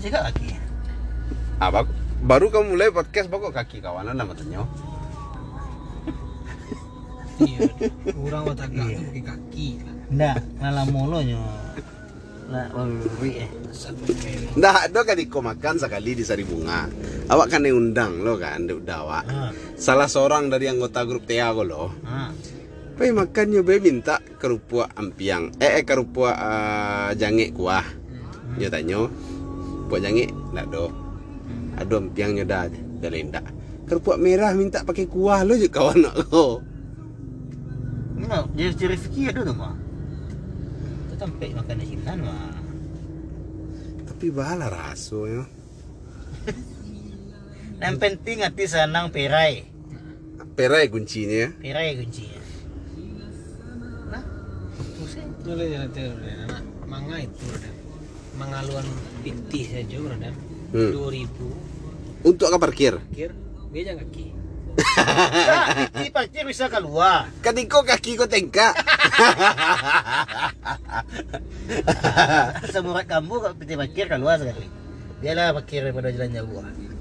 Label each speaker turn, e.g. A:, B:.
A: sikat kaki.
B: Ah, baku- baru kamu mulai podcast bagus kaki kawanan lah nama tanya.
C: iya orang watak gak tuh pakai kaki
A: Ndak, ngalah mulu nyo. Lah, wabri eh.
B: Nah, do kan iko makan sekali di Sari Bunga. Awak kan yang undang lo kan, dia udah awak.
A: Ah,
B: Salah seorang dari anggota grup Tia ko lo.
A: ah.
B: Pe makannya be minta kerupuk ampiang. Eh, eh kerupuk ah, jange kuah. Dia tanya, buat jange ndak do. Aduh ampiang nyo dah, dah lain dak. Kerupuk merah minta pakai kuah lo juga kawan aku.
A: Nggak, dia ciri rezeki ada tuh mah. Itu sampai makan di sini mah.
B: Tapi bala raso ya.
A: Yang penting hati senang perai.
B: Perai kuncinya. ya.
A: Perai kuncinya. Nah, pusing.
C: nyoleh jalan terus anak manga itu Raden mangaluan piti saja Raden
B: Hmm.
C: dua ribu
B: Untuk apa parkir?
C: kir dia jangan kaki
A: Nah, di parkir bisa keluar.
B: Katiko kaki kau tengkak.
A: Semurat kamu kalau peti parkir keluar sekali. Biarlah parkir daripada jalan jauh. lah.